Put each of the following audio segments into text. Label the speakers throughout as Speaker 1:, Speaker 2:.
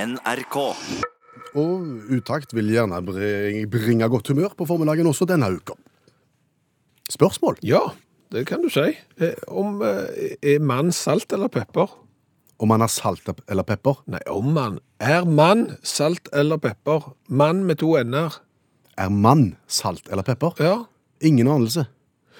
Speaker 1: NRK.
Speaker 2: Og utakt vil gjerne bri- bringe godt humør på formiddagen også denne uka. Spørsmål
Speaker 3: Ja, det kan du si. Eh, Om eh, er mann salt eller pepper?
Speaker 2: om man har salt eller pepper.
Speaker 3: Nei, om mann. Er mann salt eller pepper? Mann med to n-er.
Speaker 2: Er mann salt eller pepper?
Speaker 3: Ja.
Speaker 2: Ingen anelse.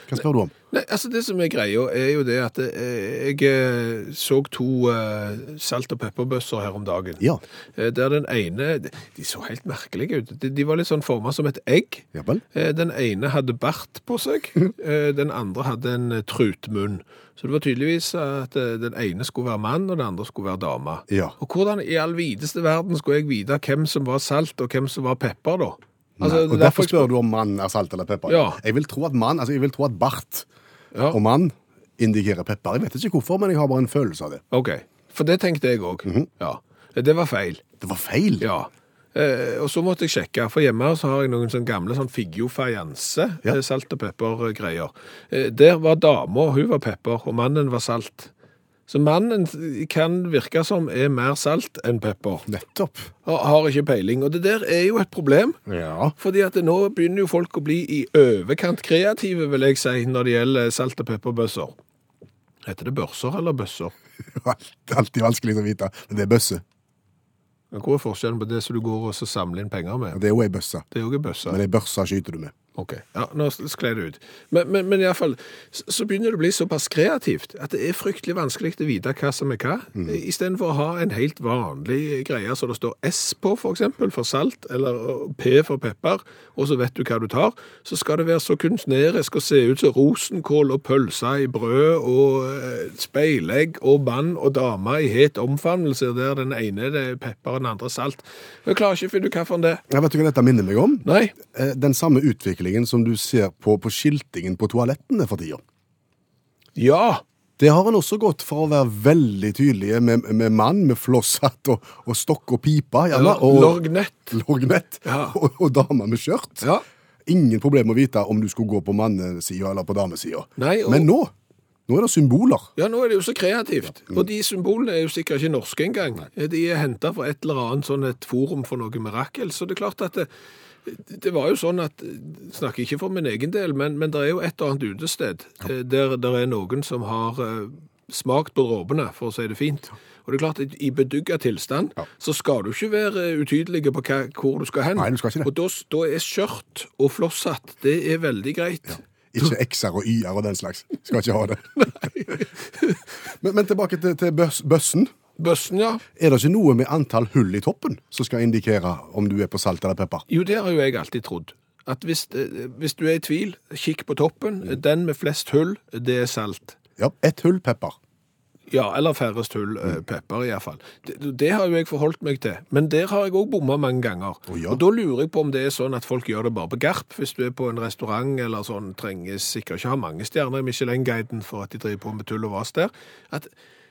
Speaker 2: Hva spør du om?
Speaker 3: Nei, altså Det som er greia, er jo det at eh, jeg eh, så to eh, salt- og pepperbøsser her om dagen.
Speaker 2: Ja.
Speaker 3: Eh, Der den ene De de så helt merkelige ut. De, de var litt sånn forma som et egg.
Speaker 2: Ja vel?
Speaker 3: Eh, Den ene hadde bart på seg, eh, den andre hadde en eh, trutmunn. Så det var tydeligvis at eh, den ene skulle være mann, og den andre skulle være dame.
Speaker 2: Ja.
Speaker 3: Og hvordan i all videste verden skulle jeg vite hvem som var salt, og hvem som var pepper, da? Altså,
Speaker 2: Nei, og derfor spør du om mann er salt eller pepper.
Speaker 3: Ja.
Speaker 2: Jeg vil tro at mann, altså jeg vil tro at bart
Speaker 3: Ja.
Speaker 2: og mann indikerer pepper. Jeg vet ikke hvorfor, men jeg har bare en følelse av det.
Speaker 3: OK. For det tenkte jeg òg.
Speaker 2: Mhm.
Speaker 3: Ja. Eh, Det var feil.
Speaker 2: Det var feil.
Speaker 3: Ja. Eh, og så måtte jeg sjekke, for hjemme her så har jeg noen sånn gamle sånn figgjo-fajanse,
Speaker 2: Ja.
Speaker 3: eh, salt- og pepper-greier. Eh, der var dama, hun var pepper, og mannen var salt. Så mannen kan virke som er mer salt enn pepper.
Speaker 2: Nettopp.
Speaker 3: Har, har ikke peiling. Og det der er jo et problem.
Speaker 2: Ja.
Speaker 3: Fordi at nå begynner jo folk å bli i overkant kreative, vil jeg si, når det gjelder salt- og pepperbøsser. Heter det børser eller bøsser?
Speaker 2: Det er alltid vanskelig å vite, men det er bøsse.
Speaker 3: Hva er forskjellen på det som du går og så samler inn penger med?
Speaker 2: Det er jo ei bøsse,
Speaker 3: Det er jo ikke bøsser.
Speaker 2: men ei børse skyter du med.
Speaker 3: Ok, ja, nå sklei det ut. Men, men, men iallfall, så, så begynner det å bli såpass kreativt at det er fryktelig vanskelig å vite hva som er hva. Istedenfor å ha en helt vanlig greie som det står S på, f.eks., eksempel, for salt, eller P for pepper, og så vet du hva du tar, så skal det være så kunstnerisk og se ut som rosenkål og pølse i brød og eh, speilegg og mann og dame i het omfavnelse, der den ene det er pepper og den andre salt. Jeg klarer ikke å finne ut hva for en det er.
Speaker 2: Jeg vet du hva dette minner meg om?
Speaker 3: Nei.
Speaker 2: Eh, Den samme utviklingen som du ser på, på skiltingen på toalettene for tida.
Speaker 3: Ja.
Speaker 2: Det har en også gått for å være veldig tydelige med, med mann, med flosshatt og, og stokk og pipa. Gjerne,
Speaker 3: Eller
Speaker 2: og
Speaker 3: lorgnett.
Speaker 2: Lorgnett.
Speaker 3: Ja.
Speaker 2: Og, og dame med skjørt.
Speaker 3: Ja.
Speaker 2: Ingen problem å vite om du skulle gå på mannesida eller på damesida.
Speaker 3: Nei, og-
Speaker 2: Men nå nå er det symboler.
Speaker 3: Ja, nå er det jo så kreativt. Og de symbolene er jo sikkert ikke norske engang. Eh, De er henta fra et eller annet sånn et forum for noe mirakel. Så det er klart at det, det var jo sånn at Snakker ikke for min egen del, men, men det er jo et og annet utested eh, der det er noen som har eh, smakt på dråpene, for å si det fint. Og det er klart, at i bedugga tilstand så skal du ikke være eh, utydelige på hva, hvor du skal hen.
Speaker 2: Nei, du skal ikke det.
Speaker 3: Og da, s- da er skjørt og flosshatt, det er veldig greit.
Speaker 2: Ikke X-er og Y-er og den slags. Skal ikke ha det. men, men tilbake til, til bøs, bøssen.
Speaker 3: Bøssen, ja.
Speaker 2: Er det ikke noe med antall hull i toppen som skal indikere om du er på salt eller pepper?
Speaker 3: Jo, det har jo jeg alltid trodd. At hvis, eh, hvis du er i tvil, kikk på toppen. Den med flest hull, det er salt.
Speaker 2: Ja, ett hull pepper.
Speaker 3: Ja, eller færrest hull,
Speaker 2: Mm.
Speaker 3: eh, pepper i hvert fall. Det, det har jo jeg forholdt meg til. Men der har jeg òg bomma mange ganger.
Speaker 2: Å, ja.
Speaker 3: Og da lurer jeg på om det er sånn at folk gjør det bare på garp. Hvis du er på en restaurant eller sånn, trenger sikkert ikke ha mange stjerner i Michelin-guiden for at de driver på med tull og vas der. At,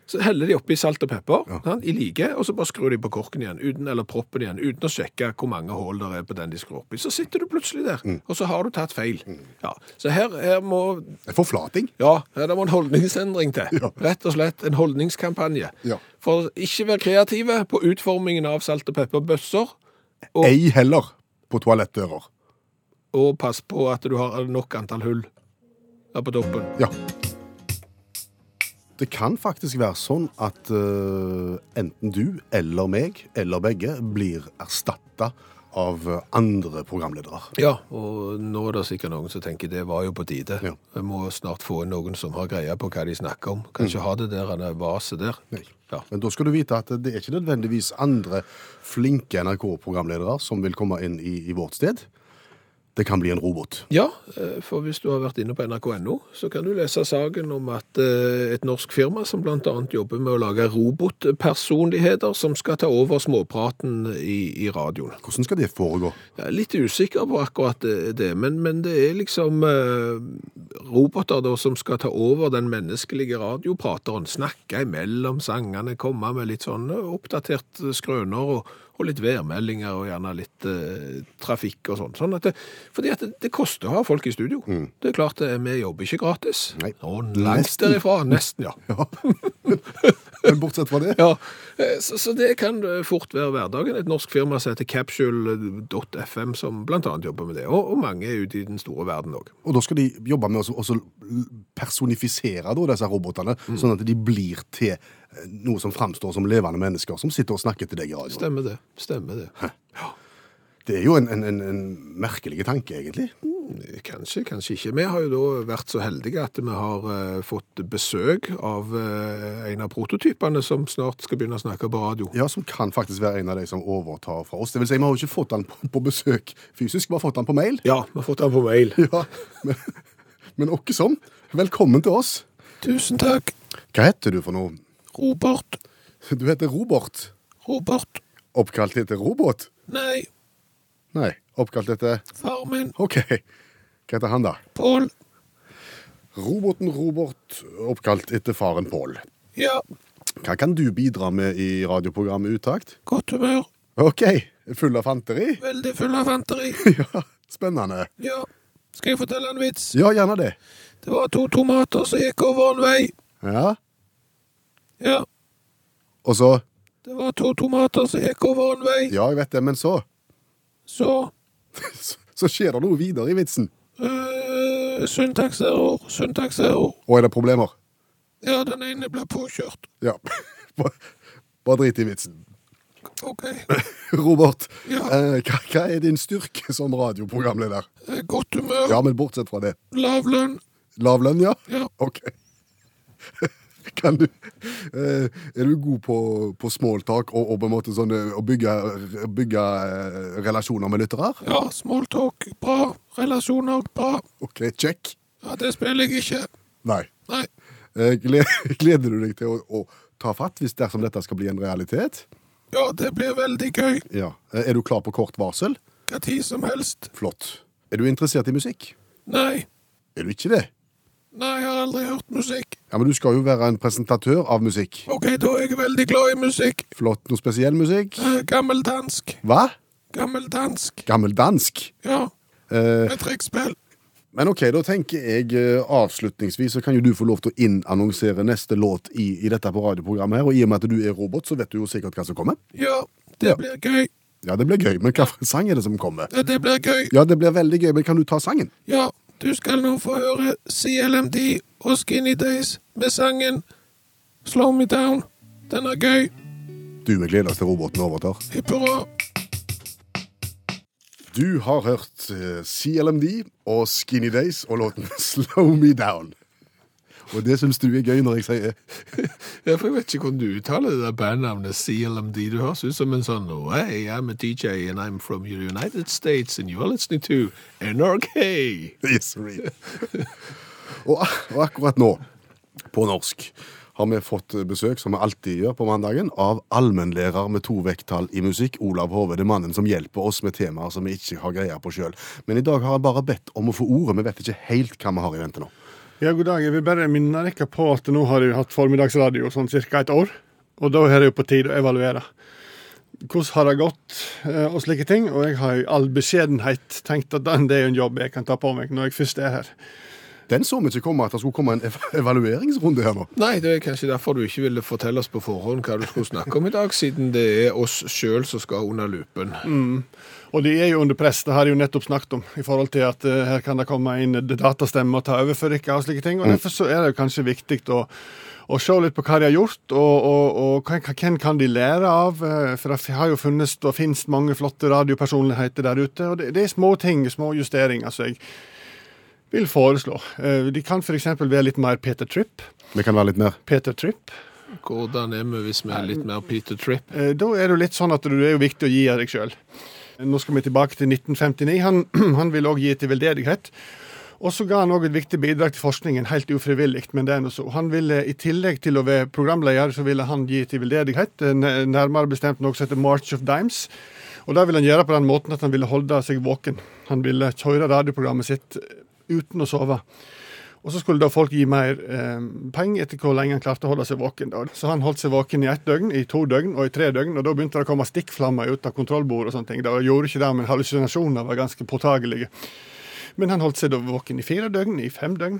Speaker 3: så heller de oppi salt og pepper sant, i like, og så bare skrur de på korken igjen, uten, eller proppen igjen, uten å sjekke hvor mange hull det er på den de skrur oppi. Så sitter du plutselig der,
Speaker 2: Mm.
Speaker 3: og så har du tatt feil. Ja, så her, her må
Speaker 2: Forflating.
Speaker 3: ja, ja, det må en holdningsendring til.
Speaker 2: Ja.
Speaker 3: Rett og slett en holdningskampanje.
Speaker 2: Ja.
Speaker 3: For ikke være kreative på utformingen av salt- og pepperbøsser, Og-
Speaker 2: Ei heller på toalettdører.
Speaker 3: og pass på at du har nok antall hull der på toppen.
Speaker 2: Ja. Det kan faktisk være sånn at eh, enten du eller meg, eller begge, blir erstatta av eh, andre programledere.
Speaker 3: Ja, og nå er det sikkert noen som tenker det var jo på tide.
Speaker 2: Ja.
Speaker 3: Vi må snart få inn noen som har greie på hva de snakker om. Kan ikke ha det der det vaset der.
Speaker 2: Mm. Nei.
Speaker 3: Ja.
Speaker 2: Men da skal du vite at det er ikke nødvendigvis andre flinke NRK-programledere som vil komme inn i, i vårt sted. Det kan bli en robot.
Speaker 3: Ja, eh, for hvis du har vært inne på nrk.no, så kan du lese saken om at eh, et norsk firma som bl.a. jobber med å lage robotpersonligheter som skal ta over småpraten i, i radioen.
Speaker 2: Hvordan skal det foregå?
Speaker 3: Jeg er litt usikker på akkurat eh, det, men, men det er liksom eh, roboter da som skal ta over den menneskelige radioprateren, snakke imellom sangene, komme med litt sånn eh, oppdatert eh, skrøner og, og litt værmeldinger og gjerne litt eh, trafikk og sånn. sånn at det, fordi at det, det koster å ha folk i studio. Det er klart, eh, vi jobber ikke gratis.
Speaker 2: Nei.
Speaker 3: Og langt derifra, nesten ja.
Speaker 2: Ja. Men bortsett fra det
Speaker 3: Ja, eh, så, så det kan eh, fort være hverdagen. Et norsk firma som heter Capsule.fm, som blant annet jobber med det, og, og mange er ute i den store verden òg.
Speaker 2: Og da skal de jobbe med å så- også personifisere da, disse robotene, sånn at de blir til eh, noe som framstår som levende mennesker som sitter og snakker til deg i radioen.
Speaker 3: Stemmer det. Stemmer det.
Speaker 2: Det er jo en, en, en, en merkelig tanke, egentlig.
Speaker 3: Mm, Kanskje, kanskje ikke. Vi har jo da vært så heldige at vi har eh, fått besøk av eh, en av prototypene som snart skal begynne å snakke på radio.
Speaker 2: Ja, Som kan faktisk være en av de som overtar fra oss. Det vil si, Vi har jo ikke fått den på, på besøk fysisk, vi har fått den på mail.
Speaker 3: Ja, vi har fått den på mail.
Speaker 2: Ja, Men, men åkke som. Velkommen til oss.
Speaker 3: Tusen takk.
Speaker 2: Hva heter du for noe?
Speaker 3: Robert.
Speaker 2: Du heter Robert.
Speaker 3: Robert.
Speaker 2: Oppkalt etter robot?
Speaker 3: Nei,
Speaker 2: Nei, oppkalt etter
Speaker 3: far min.
Speaker 2: OK. Hva heter han, da?
Speaker 3: Pål.
Speaker 2: Roboten Robert, oppkalt etter faren Pål.
Speaker 3: Ja.
Speaker 2: Hva kan du bidra med i radioprogrammet Utakt?
Speaker 3: Godt humør.
Speaker 2: OK, full av fanteri?
Speaker 3: Veldig full av fanteri.
Speaker 2: Ja, spennende.
Speaker 3: Ja. Skal jeg fortelle en vits?
Speaker 2: Ja, gjerne det.
Speaker 3: Det var to tomater som gikk over en vei.
Speaker 2: Ja,
Speaker 3: Ja.
Speaker 2: og så
Speaker 3: Det var to tomater som gikk over en vei.
Speaker 2: Ja, jeg vet det, men så
Speaker 3: Så
Speaker 2: Så, så skjer det noe videre i vitsen.
Speaker 3: øh, Syntakserror, syntakserror.
Speaker 2: Og er det problemer?
Speaker 3: Ja, den ene ble påkjørt.
Speaker 2: Ja. Bare bare drit i vitsen.
Speaker 3: OK.
Speaker 2: Robert,
Speaker 3: Ja.
Speaker 2: eh, hva, hva er din styrke som radioprogramleder?
Speaker 3: Eh, Godt humør,
Speaker 2: Ja, men bortsett fra det.
Speaker 3: lav lønn.
Speaker 2: Lav lønn, ja?
Speaker 3: Ja.
Speaker 2: Ok. Kan du, eh, er du god på, på småltak og, og på en måte sånn, eh, å bygge, bygge eh, relasjoner med lyttere?
Speaker 3: Ja, smalltalk, bra. Relasjoner, bra.
Speaker 2: Ok, check.
Speaker 3: Ja, det spiller jeg ikke.
Speaker 2: Nei.
Speaker 3: Nei.
Speaker 2: Eh, gled, gleder du deg til å, å ta fatt hvis dersom dette skal bli en realitet?
Speaker 3: Ja, det blir veldig gøy.
Speaker 2: Ja. Eh, er du klar på kort varsel?
Speaker 3: Hva tid som helst.
Speaker 2: Flott. Er du interessert i musikk?
Speaker 3: Nei.
Speaker 2: Er du ikke det?
Speaker 3: Nei, jeg har aldri hørt musikk.
Speaker 2: Ja, men du skal jo være en presentatør av musikk.
Speaker 3: OK, da er jeg veldig glad i musikk.
Speaker 2: Flott. Noe spesiell musikk?
Speaker 3: Eh, Gammeldansk.
Speaker 2: Hva?
Speaker 3: Gammeldansk.
Speaker 2: Gammeldansk?
Speaker 3: Ja,
Speaker 2: Eh,
Speaker 3: med trekkspill.
Speaker 2: men ok, da tenker jeg eh, avslutningsvis så kan jo du få lov til å innannonsere neste låt i, i dette på radioprogrammet her, og i og med at du er robot, så vet du jo sikkert hva som kommer.
Speaker 3: Ja, det
Speaker 2: Ja.
Speaker 3: blir gøy.
Speaker 2: Ja, det blir gøy, men hva for sang er det som kommer?
Speaker 3: Ja, det blir gøy.
Speaker 2: Ja, det blir veldig gøy, men kan du ta sangen?
Speaker 3: Ja, du skal nå få høre CLMD og Skinny Days med sangen Slow Me Down. Den er gøy.
Speaker 2: Du, vi gleder oss til roboten overtar.
Speaker 3: Hipp hurra.
Speaker 2: Du har hørt eh, CLMD og Skinny Days og låten Slow Me Down. Og det syns du er gøy når jeg sier
Speaker 3: Ja, for jeg vet ikke hvordan du uttaler det der bandnavnet CLMD. Du høres ut som en sånn oh, Hey, I'm a DJ and I'm from the United States and you are listening to NRK.
Speaker 2: Yes, read. og, ak- og akkurat nå, på norsk, har vi fått besøk, som vi alltid gjør på mandagen, av allmennlærer med to vekttall i musikk, Olav Hove. Det er mannen som hjelper oss med temaer som vi ikke har greie på sjøl. Men i dag har han bare bedt om å få ordet. Vi vet ikke helt hva vi har i vente nå.
Speaker 1: Ja, god dag. Jeg vil bare minne dere på at nå har jeg hatt formiddagsradio sånn ca. et år. Og da er det jo på tide å evaluere. Hvordan har det gått, eh, og slike ting. Og jeg har i all beskjedenhet tenkt at den, det er jo en jobb jeg kan ta på meg når jeg først er her.
Speaker 2: Den så vi ikke komme, at det skulle komme en ev evalueringsrunde her nå.
Speaker 3: Nei, det er kanskje derfor du ikke ville fortelle oss på forhånd hva du skulle snakke om i dag, siden det er oss sjøl som skal under lupen.
Speaker 2: Mm.
Speaker 1: Og de er jo under press, det har jeg jo nettopp snakket om, i forhold til at eh, her kan det komme inn datastemmer og ta over for dere og slike ting. Og derfor så er det jo kanskje viktig å, å se litt på hva de har gjort, og, og, og hva- hva- hvem kan de lære av? eh, For det har jo funnes og finnes mange flotte radiopersonligheter der ute, og det, det er små ting, små justeringer som jeg vil foreslå. Eh, De kan f.eks. være litt mer Peter Tripp.
Speaker 2: Vi kan være litt mer.
Speaker 1: Peter Tripp.
Speaker 3: Hvordan er vi hvis vi er litt mer Peter Tripp?
Speaker 1: Eh, Da er det jo litt sånn at du det er jo viktig å gi av deg sjøl. Nå skal vi tilbake til 1959. Han, han ville òg gi til veldedighet. Og så ga han òg et viktig bidrag til forskningen, helt ufrivillig. men det er nå så. Han ville, I tillegg til å være programleder, så ville han gi til veldedighet, eh, n- nærmere bestemt noe som heter March of Dimes. Og det ville han gjøre på den måten at han ville holde seg våken. Han ville kjøre radioprogrammet sitt eh, uten å sove. Og så skulle da folk gi mer eh, penger etter hvor lenge han klarte å holde seg våken. da. Så han holdt seg våken i ett døgn, i to døgn og i tre døgn, og da begynte det å komme stikkflammer ut av kontrollbordet og sånne ting. Det gjorde ikke det, men hallusinasjoner var ganske påtagelige. Men han holdt seg da våken i fire døgn, i fem døgn.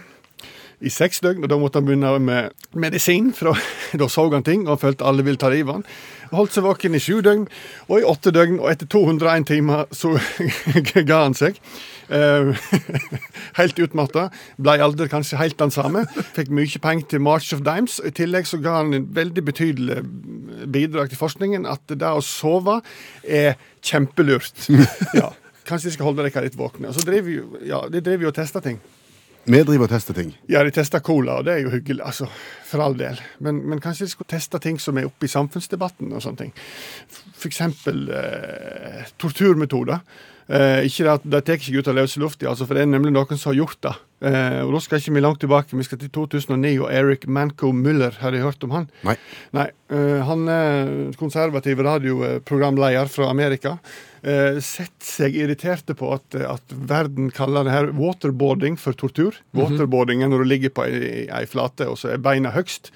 Speaker 1: i seks døgn, og da måtte han begynne med medisin. For da så han ting, og han følte alle ville ta livet av han. Holdt seg våken i sju døgn, og i åtte døgn, og etter 201 timer så ga han seg. Eh, helt utmatta. Ble aldri kanskje helt den samme. Fikk mye penger til March of Dimes. og I tillegg så ga han en veldig betydelig bidrag til forskningen at det å sove er kjempelurt. Ja. Kanskje de skal holde dere litt våkne. Og så driver jo, ja, de driver jo og tester ting.
Speaker 2: Vi driver og tester ting.
Speaker 1: Ja, de tester cola, og det er jo hyggelig, altså, for all del. Men, men kanskje de skulle teste ting som er oppe i samfunnsdebatten og sånne ting. F.eks. Eh, torturmetoder. Eh, ikke det at De tar ikke ut av løse lufta, altså, for det er nemlig noen som har gjort det. Eh, og Da skal ikke vi langt tilbake, vi skal til 2009 og Eric Manco Muller. Har dere hørt om han?
Speaker 2: Nei.
Speaker 1: Nei, eh, han eh, konservativ radioprogramleder fra Amerika. eh, setter seg irriterte på at, at verden kaller det her waterboarding for tortur. Waterboarding er når du ligger på ei, ei flate, og så er beina høgst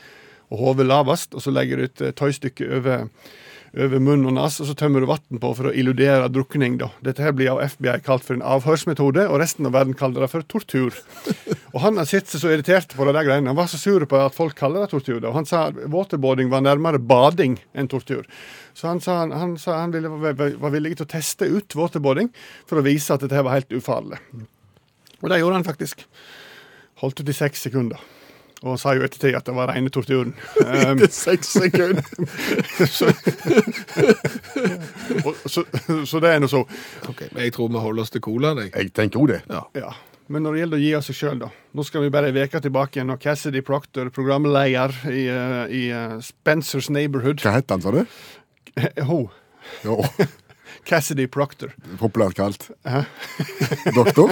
Speaker 1: og hodet lavest, og så legger du et eh, tøystykke over, over munn og nes, og så tømmer du vann på for å illudere drukning. da. Dette her blir av FBI kalt for en avhørsmetode, og resten av verden kaller det for tortur. Og han har sett seg så irritert på det der greiene. Han var så sur på at folk kaller det tortur. da. Og han sa waterboarding var nærmere bading enn tortur. Så han sa han, han, sa han ville, var, var villig til å teste ut waterboarding for å vise at dette her var helt ufarlig. Og det gjorde han faktisk. Holdt ut i seks sekunder. Og han sa jo ettertid at det var rene torturen. Um,
Speaker 2: Seks sekunder.
Speaker 1: så, og, så, så det er nå så.
Speaker 3: Men jeg tror vi holder oss til colaen, jeg.
Speaker 2: Jeg tenker òg det.
Speaker 3: Ja.
Speaker 1: Ja. Men når det gjelder å gi av seg sjøl, da. Nå skal vi bare en uke tilbake igjen. Og Cassidy Proctor, programleder i, eh, i eh, Spencers Neighborhood
Speaker 2: Hva het han, sa du?
Speaker 1: Ho,
Speaker 2: Ja,
Speaker 1: Cassidy Proctor.
Speaker 2: Populært kalt doktor.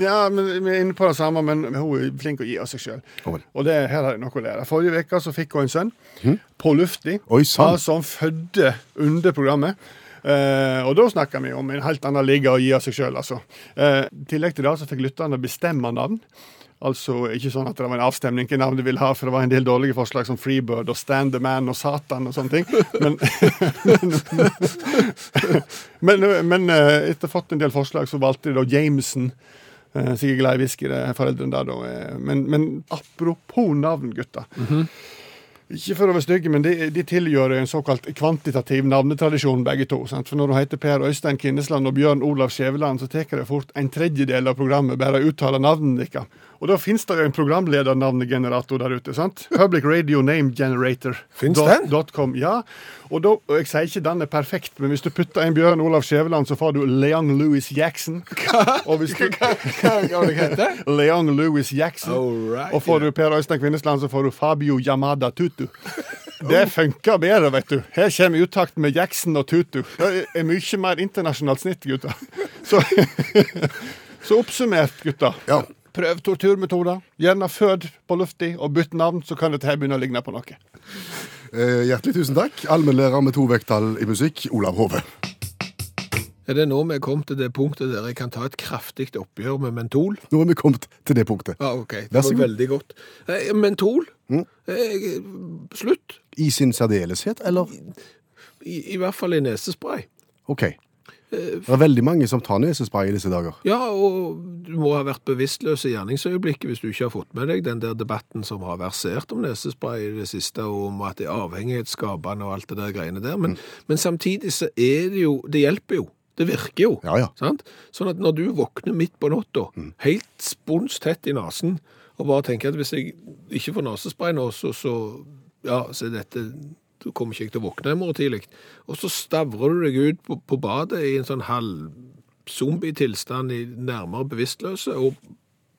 Speaker 1: Ja, men vi er inne på det samme, men hun er flink å gi av seg sjøl.
Speaker 2: Ja vel.
Speaker 1: Og det her har jeg noe å lære. Forrige uke så fikk hun en sønn på lufta.
Speaker 2: Oi, sann.
Speaker 1: Altså, han fødte under programmet. Eh, og da snakker vi om en helt annen liga å gi av seg sjøl, altså. Eh, I tillegg til det så fikk lytterne bestemme navn. Altså ikke sånn at det var en avstemning hvilke navn de ville ha, for det var en del dårlige forslag som Freebird og Stand the Man og Satan og sånne ting. Men, men, men, men eh, etter fått en del forslag, så valgte de da Jameson. Eh, Sikkert glad i whisky, det er foreldrene der, da. eh, Men, men apropos navn, gutter.
Speaker 3: Mhm.
Speaker 1: Ikke for å være stygge, men de, de tilgjør en såkalt kvantitativ navnetradisjon, begge to. Sant? For når du heter Per Øystein Kinnesland og Bjørn Olav Skjæveland, så tar det fort en tredjedel av programmet bare å uttale navnene deres. Og da finnes det jo en programledernavnegenerator der ute. sant? Public Radio Name Generator.
Speaker 3: Finnes
Speaker 1: Dot-
Speaker 3: den?
Speaker 1: dot .com, ja. Og, da, og jeg sier ikke den er perfekt, men hvis du putter en Bjørn Olav Skjæveland, så får du Leong Louis Jackson. Og hvis du...
Speaker 3: Hva heter det?
Speaker 1: Leong Louis Jackson.
Speaker 3: Alright,
Speaker 1: og får du Per Øystein Kvinnesland, så får du Fabio Yamada Tutu. Det funker bedre, vet du. Her kommer utakt med Jackson og Tutu. Det er mye mer internasjonalt snitt, gutter. Så, så oppsummert, gutter.
Speaker 2: Ja.
Speaker 1: Prøv torturmetoder. Gjerne fød på lufta, og bytt navn, så kan dette her begynne å ligne på noe.
Speaker 2: Eh, Hjertelig tusen takk, allmennlærer med to vekttall i musikk, Olav Hove.
Speaker 3: Er det nå vi er kommet til det punktet der jeg kan ta et kraftig oppgjør med mentol?
Speaker 2: Nå er vi kommet til det punktet.
Speaker 3: Ja, ok. Det
Speaker 2: Vær så
Speaker 3: var
Speaker 2: god. Mm.
Speaker 3: veldig godt. Eh, Mentol? Eh, Slutt.
Speaker 2: I sin særdeleshet, eller?
Speaker 3: I, I hvert fall i nesespray.
Speaker 2: OK. Det er veldig mange som tar nesespray i disse dager.
Speaker 3: Ja, og du må ha vært bevisstløs i gjerningsøyeblikket hvis du ikke har fått med deg den der debatten som har versert om nesespray i det siste, og om at det er avhengighetsskapende og alt det der greiene der. Men,
Speaker 2: Mm.
Speaker 3: men samtidig så er det jo Det hjelper jo. Det virker jo.
Speaker 2: Ja, ja.
Speaker 3: Sant? Sånn at når du våkner midt på natta, helt spons tett i nesen, og bare tenker at hvis jeg ikke får nesespray nå, så, så Ja, så er dette da kommer ikke jeg til å våkne i morgen tidlig. Og så stavrer du deg ut på, på badet i en sånn halv-zombie-tilstand, i nærmere bevisstløse, og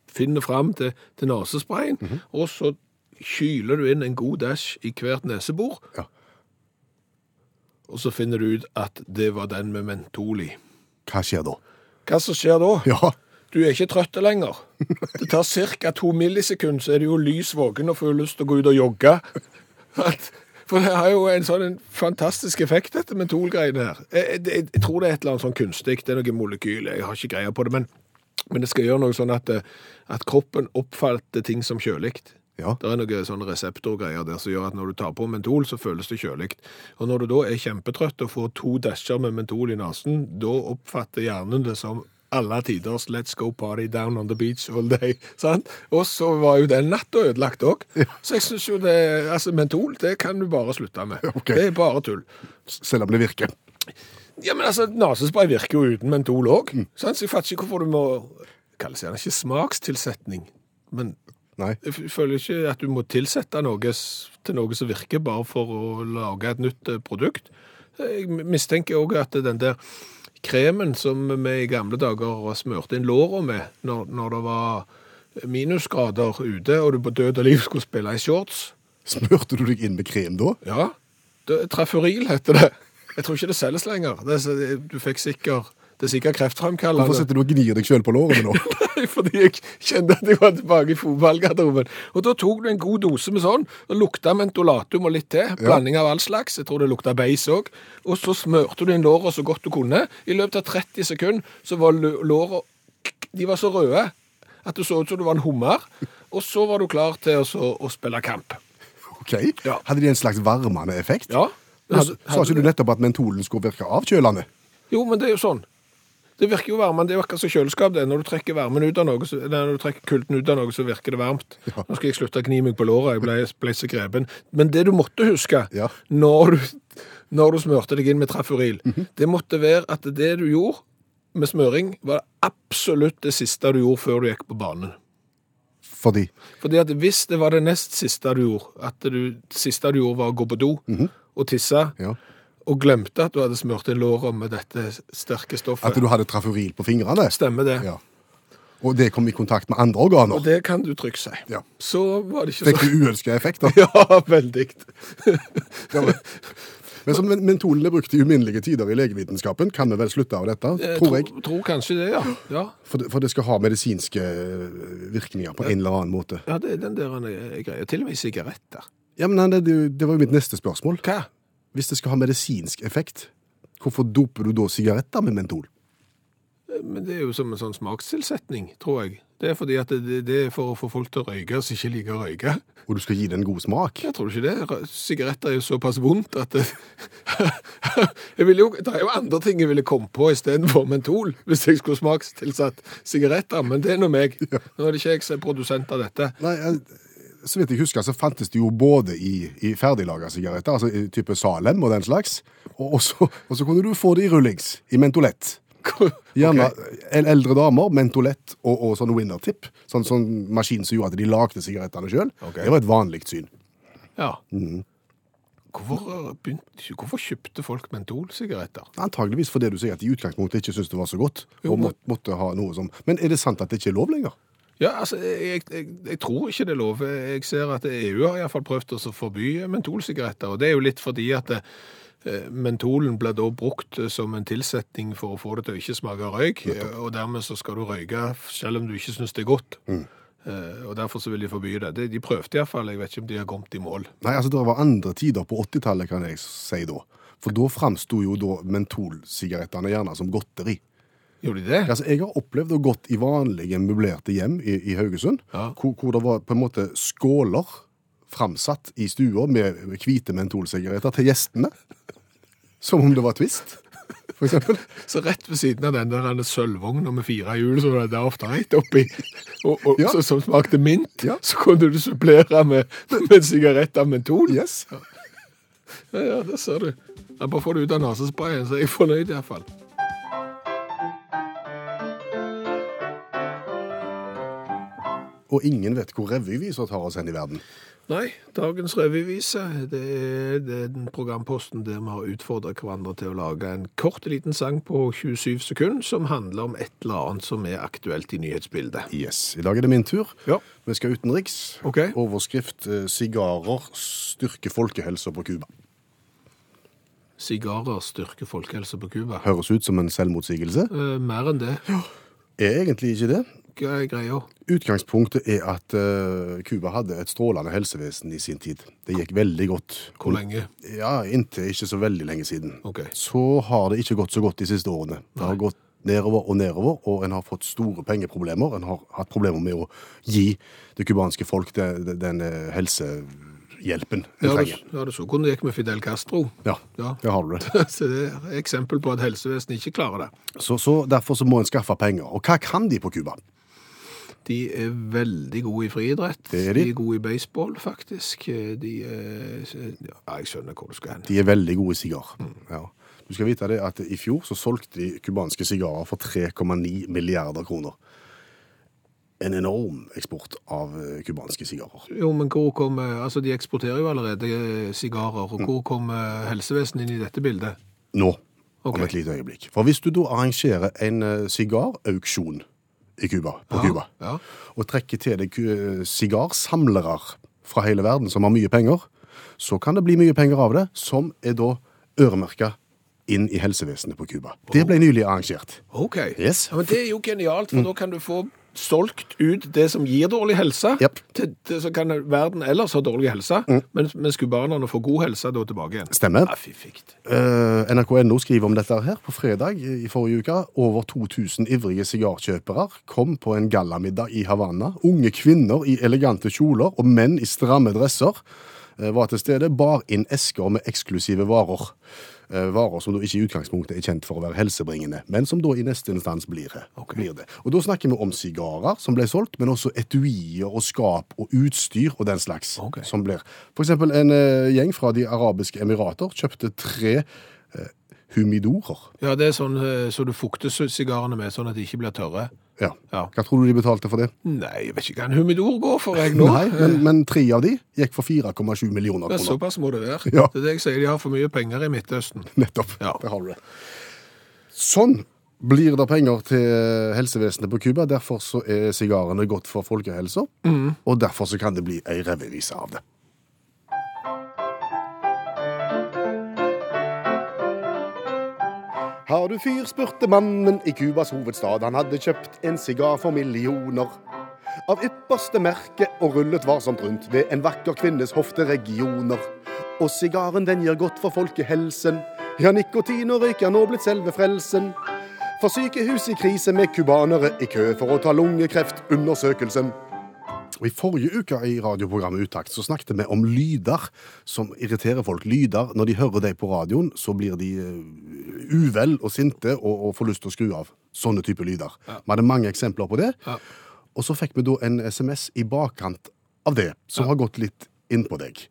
Speaker 3: finner fram til, til nesesprayen, og så kyler du inn en god dash i hvert nesebor,
Speaker 2: Ja.
Speaker 3: og så finner du ut at det var den med mentol i.
Speaker 2: Hva skjer da?
Speaker 3: Hva som skjer da?
Speaker 2: Ja,
Speaker 3: Du er ikke trøtt lenger. Det tar ca. to millisekunder, så er du jo lys våken og får lyst til å gå ut og jogge. At- For det har jo en sånn en fantastisk effekt, dette mentolgreiene her. Jeg, jeg, jeg tror det er et eller annet sånn kunstig, det er noe molekyl, jeg har ikke greie på det, men, men det skal gjøre noe sånn at, eh, at kroppen oppfatter ting som kjølig.
Speaker 2: ja.
Speaker 3: Det er noen sånne reseptorgreier der som gjør at når du tar på mentol, så føles det kjølig. Og når du da er kjempetrøtt og får to dasher med mentol i nesen, da oppfatter hjernen det som alle tiders 'Let's go party down on the beach all day'. sant? Og så var jo den natta ødelagt òg. Så jeg syns jo det altså Mentol det kan du bare slutte med.
Speaker 2: Ok.
Speaker 3: Det er bare tull.
Speaker 2: Selv om det virker.
Speaker 3: Ja, men altså, Nesespray virker jo uten mentol òg. sant? Så jeg fatter ikke hvorfor du må Kalles gjerne ikke smakstilsetning, men
Speaker 2: Nei.
Speaker 3: jeg f- føler ikke at du må tilsette noe s- til noe som virker, bare for å lage et nytt eh, produkt. Jeg m- mistenker òg at den der kremen som vi i gamle dager smurte inn låra med når, når det var minusgrader ute, og du på død og liv skulle spille i shorts
Speaker 2: Smurte du deg inn med krem da?
Speaker 3: Ja, det- Traforil heter det. Jeg tror ikke det selges lenger. Det, er så- du fikk sikker, det er sikkert kreftfremkallende.
Speaker 2: Hvorfor sitter du og gnir deg sjøl på lårene nå?
Speaker 3: Nei, fordi jeg kjente at jeg var tilbake i fotballgarderoben. Og da tok du en god dose med sånn, og lukta mentolatum og litt til, blanding av all slags, jeg tror det lukta beis òg, og så smørte du inn låra så godt du kunne. I løpet av 30 sekunder så var lø- låra De var så røde at det så ut som du var en hummer, og så var du klar til å, så- å spille kamp.
Speaker 2: Ok.
Speaker 3: Ja.
Speaker 2: Hadde de en slags varmende effekt?
Speaker 3: Ja.
Speaker 2: Men s- Sa ikke du nettopp at mentolen skulle virke avkjølende?
Speaker 3: Jo, men det er jo sånn. Det virker jo varmen, det er jo akkurat som kjøleskap. det er. Når du trekker varmen ut av noe, så, nei, når du trekker kulden ut av noe, så virker det varmt. Nå skal jeg slutte å gni meg på låret, jeg ble, ble så grepen. Men det du måtte huske
Speaker 2: Ja.
Speaker 3: når, du, når du smørte deg inn med traforil,
Speaker 2: Mhm.
Speaker 3: det måtte være at det du gjorde med smøring, var absolutt det siste du gjorde før du gikk på banen.
Speaker 2: Fordi
Speaker 3: Fordi at hvis det var det nest siste du gjorde, at du, det siste du gjorde var å gå på do og tisse,
Speaker 2: Mhm. ja.
Speaker 3: og glemte at du hadde smørt inn låret med dette sterke stoffet
Speaker 2: at du hadde traforil på fingrene?
Speaker 3: Stemmer det.
Speaker 2: Ja. Og det kom i kontakt med andre organer?
Speaker 3: Og det kan du trygt si.
Speaker 2: Ja.
Speaker 3: Så var det ikke
Speaker 2: Fikk
Speaker 3: så
Speaker 2: du uønska effekter?
Speaker 3: Ja, veldig.
Speaker 2: Ja, men- Men som men- mentolen er brukt i uminnelige tider i legevitenskapen, kan vi vel slutte av dette,
Speaker 3: Eh,
Speaker 2: tror jeg.
Speaker 3: Tror, tror kanskje det, ja. Ja,
Speaker 2: For det, for det skal ha medisinske øh, virkninger på en eller annen måte.
Speaker 3: ja det er den der eh, greia. Til og med sigaretter.
Speaker 2: Ja, men Anne, det, det var jo mitt neste spørsmål.
Speaker 3: Hva?
Speaker 2: Hvis det skal ha medisinsk effekt, hvorfor doper du da sigaretter med mentol?
Speaker 3: Eh, Men det er jo som en sånn smakstilsetning, tror jeg. Det er fordi at det, det er for å få folk til å røyke som ikke liker å røyke.
Speaker 2: Og du skal gi det en god smak?
Speaker 3: Jeg tror ikke det. Rø- Sigaretter er jo såpass vondt at det, jeg ville jo, Det er jo andre ting jeg ville komme på istedenfor mentol, hvis jeg skulle smakstilsatt sigaretter, men det er nå meg. Nå er det ikke jeg som er produsent av dette.
Speaker 2: Nei, jeg- så vidt jeg husker, så fantes det jo både i, i ferdiglaga sigaretter, altså i type Salem og den slags, og, og, så, og så kunne du få det i rullings, i mentolett. Gjerne el- eldre damer, mentolett og, og sånn winnertip. Sånn, sånn maskin som gjorde at de lagde sigarettene sjøl.
Speaker 3: Ok.
Speaker 2: Det var et vanlig syn.
Speaker 3: Ja. Hvorfor, eh, begynte, hvorfor kjøpte folk mentolsigaretter?
Speaker 2: Antageligvis fordi du sier at de i utgangspunktet ikke syntes det var så godt.
Speaker 3: Jo,
Speaker 2: og
Speaker 3: men-
Speaker 2: må, måtte ha noe som... Men er det sant at det ikke er lov lenger?
Speaker 3: Ja, altså, jeg, jeg, jeg tror ikke det er lov. Jeg ser at EU har iallfall prøvd å forby mentolsigaretter. Og det er jo litt fordi at eh, mentolen blir da brukt eh, som en tilsetning for å få det til å ikke smake røyk. eh, Og dermed så skal du røyke selv om du ikke syns det er godt. Eh, Og derfor så vil de forby det. De, de prøvde iallfall. Jeg vet ikke om de har kommet i mål.
Speaker 2: Nei, altså det var andre tider på 80-tallet, kan jeg si da. For da framsto jo da mentolsigarettene gjerne som godteri.
Speaker 3: Gjorde de det?
Speaker 2: Altså, jeg har opplevd å gått i vanlige møblerte hjem i, i Haugesund,
Speaker 3: Ja.
Speaker 2: hvor, hvor det var på en måte skåler framsatt i stua med hvite mentolsigaretter til gjestene. Som om det var Twist, for eksempel.
Speaker 3: Så rett ved siden av den der denne sølvvogna med fire hjul som det der ofte rett oppi, og, og,
Speaker 2: Ja.
Speaker 3: så, som smakte mint,
Speaker 2: Ja.
Speaker 3: så kunne du supplere med, med en sigarett av mentol.
Speaker 2: Yes.
Speaker 3: Ja, ja, det ser du. Jeg bare får det ut av nesesprayen, så er jeg fornøyd iallfall.
Speaker 2: Og ingen vet hvor revyviser tar oss hen i verden.
Speaker 3: Nei, dagens revyvise det er den programposten der vi har utfordret hverandre til å lage en kort liten sang på 27 sekunder som handler om et eller annet som er aktuelt i nyhetsbildet.
Speaker 2: Yes. I dag er det min tur.
Speaker 3: Ja.
Speaker 2: Vi skal utenriks.
Speaker 3: Ok.
Speaker 2: Overskrift eh, 'Sigarer styrker folkehelsa på Cuba'.
Speaker 3: Sigarer styrker folkehelsa på Cuba.
Speaker 2: Høres ut som en selvmotsigelse.
Speaker 3: Eh, mer enn det.
Speaker 2: Er egentlig ikke det.
Speaker 3: Hva er greia?
Speaker 2: Utgangspunktet er at eh, Cuba hadde et strålende helsevesen i sin tid. Det gikk veldig godt.
Speaker 3: Hvor lenge?
Speaker 2: Ja, Inntil ikke så veldig lenge siden.
Speaker 3: Ok.
Speaker 2: Så har det ikke gått så godt de siste årene. Det har gått nedover og nedover, og en har fått store pengeproblemer. En har hatt problemer med å gi det cubanske folk den, den eh, helsehjelpen hjelpen en
Speaker 3: Ja, du,
Speaker 2: trenger.
Speaker 3: ja, du så hvordan det gikk med Fidel Castro.
Speaker 2: Ja,
Speaker 3: Ja.
Speaker 2: det har du det.
Speaker 3: Så det er eksempel på at helsevesenet ikke klarer det.
Speaker 2: Så, så derfor så må en skaffe penger. Og hva kan de på Cuba?
Speaker 3: De er veldig gode i friidrett.
Speaker 2: Det er de.
Speaker 3: er gode i baseball, faktisk. Eh, De er Ja, jeg skjønner hvor du skal hen.
Speaker 2: De er veldig gode i sigar. Ja. Du skal vite det at i fjor så solgte de cubanske sigarer for 3,9 milliarder kroner. En enorm eksport av eh, cubanske sigarer.
Speaker 3: Jo, men hvor kommer Altså, de eksporterer jo allerede eh, sigarer. Og hvor kommer helsevesenet inn i dette bildet?
Speaker 2: Nå,
Speaker 3: Ok.
Speaker 2: om et lite øyeblikk. For hvis du da arrangerer en eh, sigarauksjon i Cuba, på Cuba,
Speaker 3: Ja.
Speaker 2: og trekker til deg eh, sigarsamlere fra hele verden som har mye penger, så kan det bli mye penger av det, som er da øremerka inn i helsevesenet på Cuba. Det ble nylig arrangert.
Speaker 3: OK.
Speaker 2: Yes. Mm.
Speaker 3: Ja, men det er jo genialt, for da kan du få solgt ut det som gir dårlig helse,
Speaker 2: Japp.
Speaker 3: til, til, så kan verden ellers ha dårlig helse, mens, mens cubanerne får god helse da tilbake igjen.
Speaker 2: Mm. Stemmer.
Speaker 3: Ja, fy fikt.
Speaker 2: Eh, NRK.no skriver om dette her på fredag i forrige uke. Over 2000 ivrige sigarkjøpere kom på en gallamiddag i Havanna. Unge kvinner i elegante kjoler og menn i stramme dresser eh, var til stede, bar inn esker med eksklusive varer. Eh, Varer som da ikke i utgangspunktet er kjent for å være helsebringende, men som da i neste instans blir det.
Speaker 3: Ok.
Speaker 2: Blir det. Og da snakker vi om sigarer som ble solgt, men også etuier og skap og utstyr og den slags
Speaker 3: Ok.
Speaker 2: som blir. For eksempel en eh, gjeng fra de arabiske emirater kjøpte tre eh, humidorer.
Speaker 3: Ja, det er sånn eh, så du fukter su- sigarene med, sånn at de ikke blir tørre.
Speaker 2: Ja.
Speaker 3: Ja.
Speaker 2: Hva tror du de betalte for det?
Speaker 3: Nei, jeg vet ikke hva en humidor går for, jeg nå. Eh.
Speaker 2: Nei, men, men tre av de gikk for 4,7 millioner
Speaker 3: Men
Speaker 2: kroner.
Speaker 3: såpass må det være.
Speaker 2: Ja.
Speaker 3: Det er det jeg sier, de har for mye penger i Midtøsten.
Speaker 2: Nettopp.
Speaker 3: Ja.
Speaker 2: Der har du det. Sånn blir det penger til helsevesenet på Cuba. Derfor så er sigarene godt for folkehelsa, og derfor så kan det bli ei revevise av det. Har du fyr, spurte mannen i Cubas hovedstad. Han hadde kjøpt en sigar for millioner. Av ypperste merke og rullet varsomt rundt ved en vakker kvinnes hofteregioner. Og sigaren den gir godt for folkehelsen. Ja, nikotin og røyk er nå blitt selve frelsen. For sykehus i krise med cubanere i kø for å ta lungekreftundersøkelsen. Og I forrige uke i radioprogrammet Utakt så snakket vi om lyder som irriterer folk. Lyder, når de hører deg på radioen, så blir de eh, uvel og sinte og, og får lyst til å skru av. Sånne type lyder. Vi hadde mange eksempler på det.
Speaker 3: Ja.
Speaker 2: Og så fikk vi da en SMS i bakkant av det, som har gått litt inn på deg.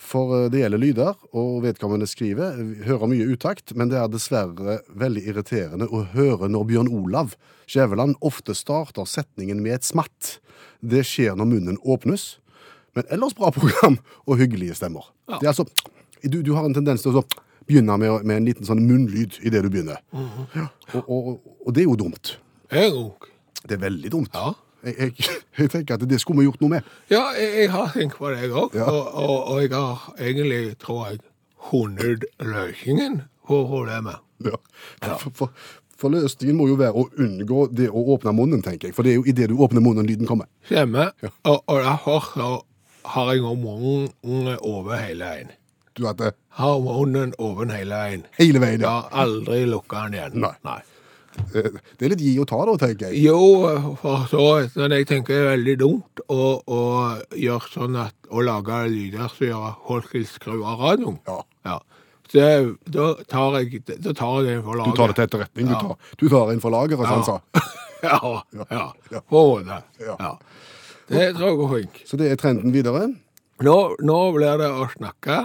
Speaker 2: For eh, det gjelder lyder, og vedkommende skriver vi hører mye utakt, men det er dessverre veldig irriterende å høre når Bjørn Olav Skjæveland ofte starter setningen med et smatt. Det skjer når munnen åpnes. Men ellers bra program og hyggelige stemmer.
Speaker 3: Ja.
Speaker 2: Det er altså, du, du har en tendens til å så begynne med, å- med en liten sånn munnlyd idet du begynner. Ja, og, og, og det er jo dumt.
Speaker 3: Erok.
Speaker 2: Det er veldig dumt.
Speaker 3: Ja.
Speaker 2: Jeg, jeg, jeg tenker at det skulle vi gjort noe med.
Speaker 3: Ja, jeg, jeg har tenkt på det, jeg òg. Og, og, og jeg har egentlig, tror jeg, funnet løsningen på problemet.
Speaker 2: Ja. For, for, for løsningen må jo være å unngå det å åpne munnen, tenker jeg. For det er jo idet du åpner munnen, lyden kommer.
Speaker 3: Hjemme. Og, og derfor så har jeg nå munnen over hele veien.
Speaker 2: Du eh, vet det
Speaker 3: Har munnen åpen hele veien.
Speaker 2: hele veien.
Speaker 3: Jeg
Speaker 2: Ja.
Speaker 3: har aldri lukka den igjen.
Speaker 2: Nei. Eh, Det er litt gi og ta, da, tenker jeg.
Speaker 3: Jo, for så vidt, men jeg tenker det er veldig dumt å, å gjøre sånn at Å lage lyder som gjør at folk vil skru av radioen.
Speaker 2: Ja.
Speaker 3: Ja. Så jeg, da tar jeg da tar jeg det for
Speaker 2: Du
Speaker 3: laget.
Speaker 2: tar det til etterretning. Du tar, du tar en for lageret, som han sa.
Speaker 3: Ja, ja. På en måte.
Speaker 2: Ja.
Speaker 3: Ja. Det tror jeg går fint.
Speaker 2: Så det er trenden videre.
Speaker 3: Nå, nå blir det å snakke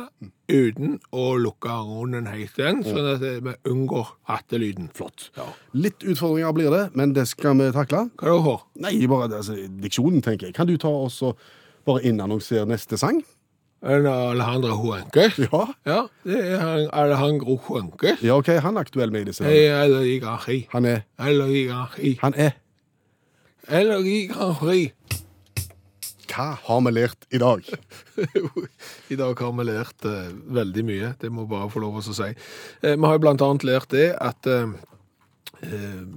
Speaker 3: uten å lukke munnen helt igjen, sånn at vi unngår hattelyden. Flott. Ja.
Speaker 2: Litt utfordringer blir det, men det skal vi takle.
Speaker 3: Hva er det for?
Speaker 2: Nei, bare det, altså, diksjonen, tenker jeg. Kan du ta oss og bare innannonsere neste sang?
Speaker 3: En Alejandro Huenkes?
Speaker 2: Ja.
Speaker 3: Ja, det er han Alejandro Huenkes.
Speaker 2: Ja, OK, han er aktuell med i disse. dager.
Speaker 3: Eller i Grand Prix.
Speaker 2: Han er
Speaker 3: Eller i Grand Prix.
Speaker 2: Han er
Speaker 3: Eller i Grand Prix.
Speaker 2: Hva har vi lært i dag?
Speaker 3: I dag har vi lært eh, veldig mye, det må bare få lov å si. Eh, vi har jo blant annet lært det at eh, eh,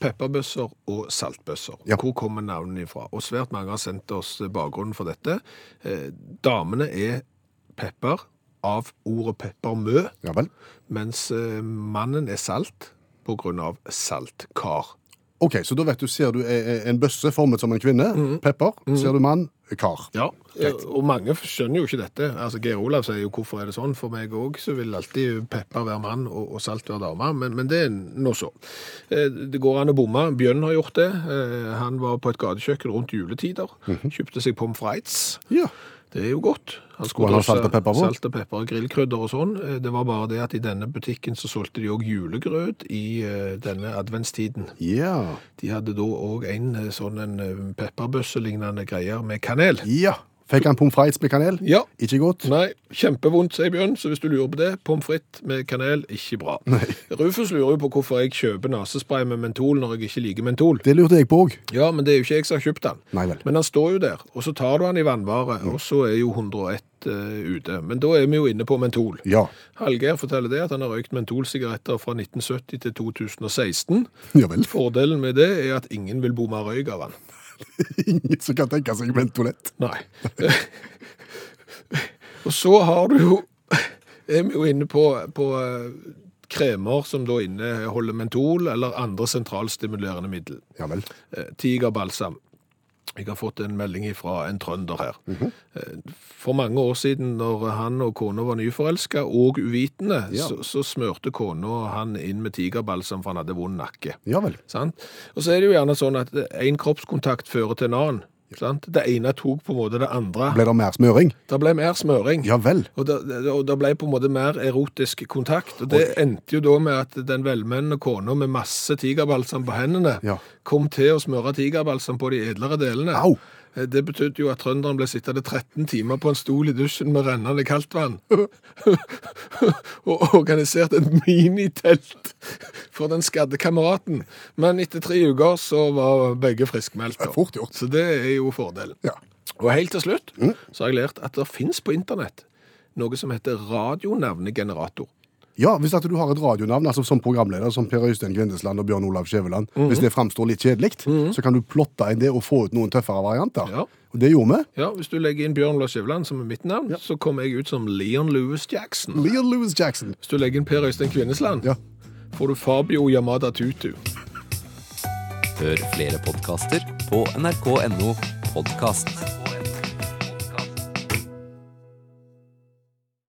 Speaker 3: pepperbøsser og saltbøsser,
Speaker 2: Ja.
Speaker 3: hvor kommer navnene ifra? Og svært mange har sendt oss bakgrunnen for dette. Eh, damene er pepper av ordet peppermø,
Speaker 2: Ja vel.
Speaker 3: mens eh, mannen er salt på grunn av saltkar. Mhm.
Speaker 2: Ok, så da vet du, ser du eh, en bøsse formet som en kvinne, pepper. Ser du mann, kar.
Speaker 3: Ja, og mange skjønner jo ikke dette. Altså, Geir Olav sier jo 'hvorfor er det sånn'? For meg òg så vil alltid pepper være mann og, og salt være dame, men, men det er nå så. Eh, Det går an å bomme. Bjørn har gjort det. Eh, Han var på et gatekjøkken rundt juletider.
Speaker 2: Mhm.
Speaker 3: Kjøpte seg pommes frites.
Speaker 2: Ja.
Speaker 3: Det er jo godt. Han
Speaker 2: Skulle han ha
Speaker 3: drøsse
Speaker 2: salt og pepper på?
Speaker 3: Salt og pepper, grillkrydder og sånn. Eh, Det var bare det at i denne butikken så solgte de òg julegrøt i eh, denne adventstiden.
Speaker 2: Ja.
Speaker 3: De hadde da òg en eh, sånn en eh, pepperbøsse-lignende greier med kanel.
Speaker 2: ja. Fikk han pommes frites med kanel?
Speaker 3: Ja.
Speaker 2: Ikke godt?
Speaker 3: Nei, kjempevondt, sier Bjørn, så hvis du lurer på det, pommes frites med kanel, ikke bra. Rufus lurer jo på hvorfor jeg kjøper nasespray med mentol når jeg ikke liker mentol.
Speaker 2: Det lurte jeg på òg.
Speaker 3: Ja, men det er jo ikke jeg som har kjøpt den.
Speaker 2: Nei vel.
Speaker 3: Men han står jo der, og så tar du han i vannvare, og så er jo 101 ute. Men da er vi jo inne på mentol.
Speaker 2: Ja.
Speaker 3: Hallgeir forteller det at han har røykt mentolsigaretter fra 1970 til 2016.
Speaker 2: Ja vel.
Speaker 3: Fordelen med det er at ingen vil bomme røyk av han.
Speaker 2: Ingen som kan tenke seg mentolett.
Speaker 3: Nei. og så har du jo Er vi jo inne på, på eh, kremer som da inneholder mentol eller andre sentralstimulerende middel.
Speaker 2: Ja vel.
Speaker 3: Eh, Tigerbalsam. Jeg har fått en melding fra en trønder her. Eh, For mange år siden, når han og kona var nyforelska og uvitende,
Speaker 2: Ja.
Speaker 3: så, så smørte kona han inn med tigerbalsam, for han hadde vond nakke.
Speaker 2: Ja vel.
Speaker 3: Sant? Og så er det jo gjerne sånn at en kroppskontakt fører til en annen. Sant? Det ene tok på en måte det andre.
Speaker 2: Ble det mer smøring?
Speaker 3: Det ble mer smøring.
Speaker 2: Ja vel.
Speaker 3: Og det, det- og det ble på en måte mer erotisk kontakt. Og det endte jo da med at den velmenende kona med masse tigerbalsam på hendene
Speaker 2: Ja.
Speaker 3: kom til å smøre tigerbalsam på de edlere delene.
Speaker 2: Au!
Speaker 3: Eh, Det betydde jo at trønderen ble sittende 13 timer på en stol i dusjen med rennende kaldt vann. og organisert et minitelt for den skadde kameraten. Men etter tre uker så var begge friskmeldte.
Speaker 2: Fort gjort.
Speaker 3: Så det er jo fordelen.
Speaker 2: Ja.
Speaker 3: Og helt til slutt så har jeg lært at det finnes på internett noe som heter radionavnegenerator.
Speaker 2: Ja, Hvis at du har et radionavn altså som programleder, som Per Øystein Kvindesland og Bjørn Olav Skjæveland,
Speaker 3: Mhm.
Speaker 2: hvis det framstår litt kjedelig, så kan du plotte inn det og få ut noen tøffere varianter.
Speaker 3: Ja.
Speaker 2: Og det gjorde vi.
Speaker 3: Ja, Hvis du legger inn Bjørn Lars Skjæveland som er mitt navn, så kommer jeg ut som Leon Lewis Jackson.
Speaker 2: Leon Lewis Jackson.
Speaker 3: Hvis du legger inn Per Øystein Kvinnesland,
Speaker 2: Ja.
Speaker 3: får du Fabio Yamada Tutu.
Speaker 4: Hør flere podkaster på nrk.no podkast.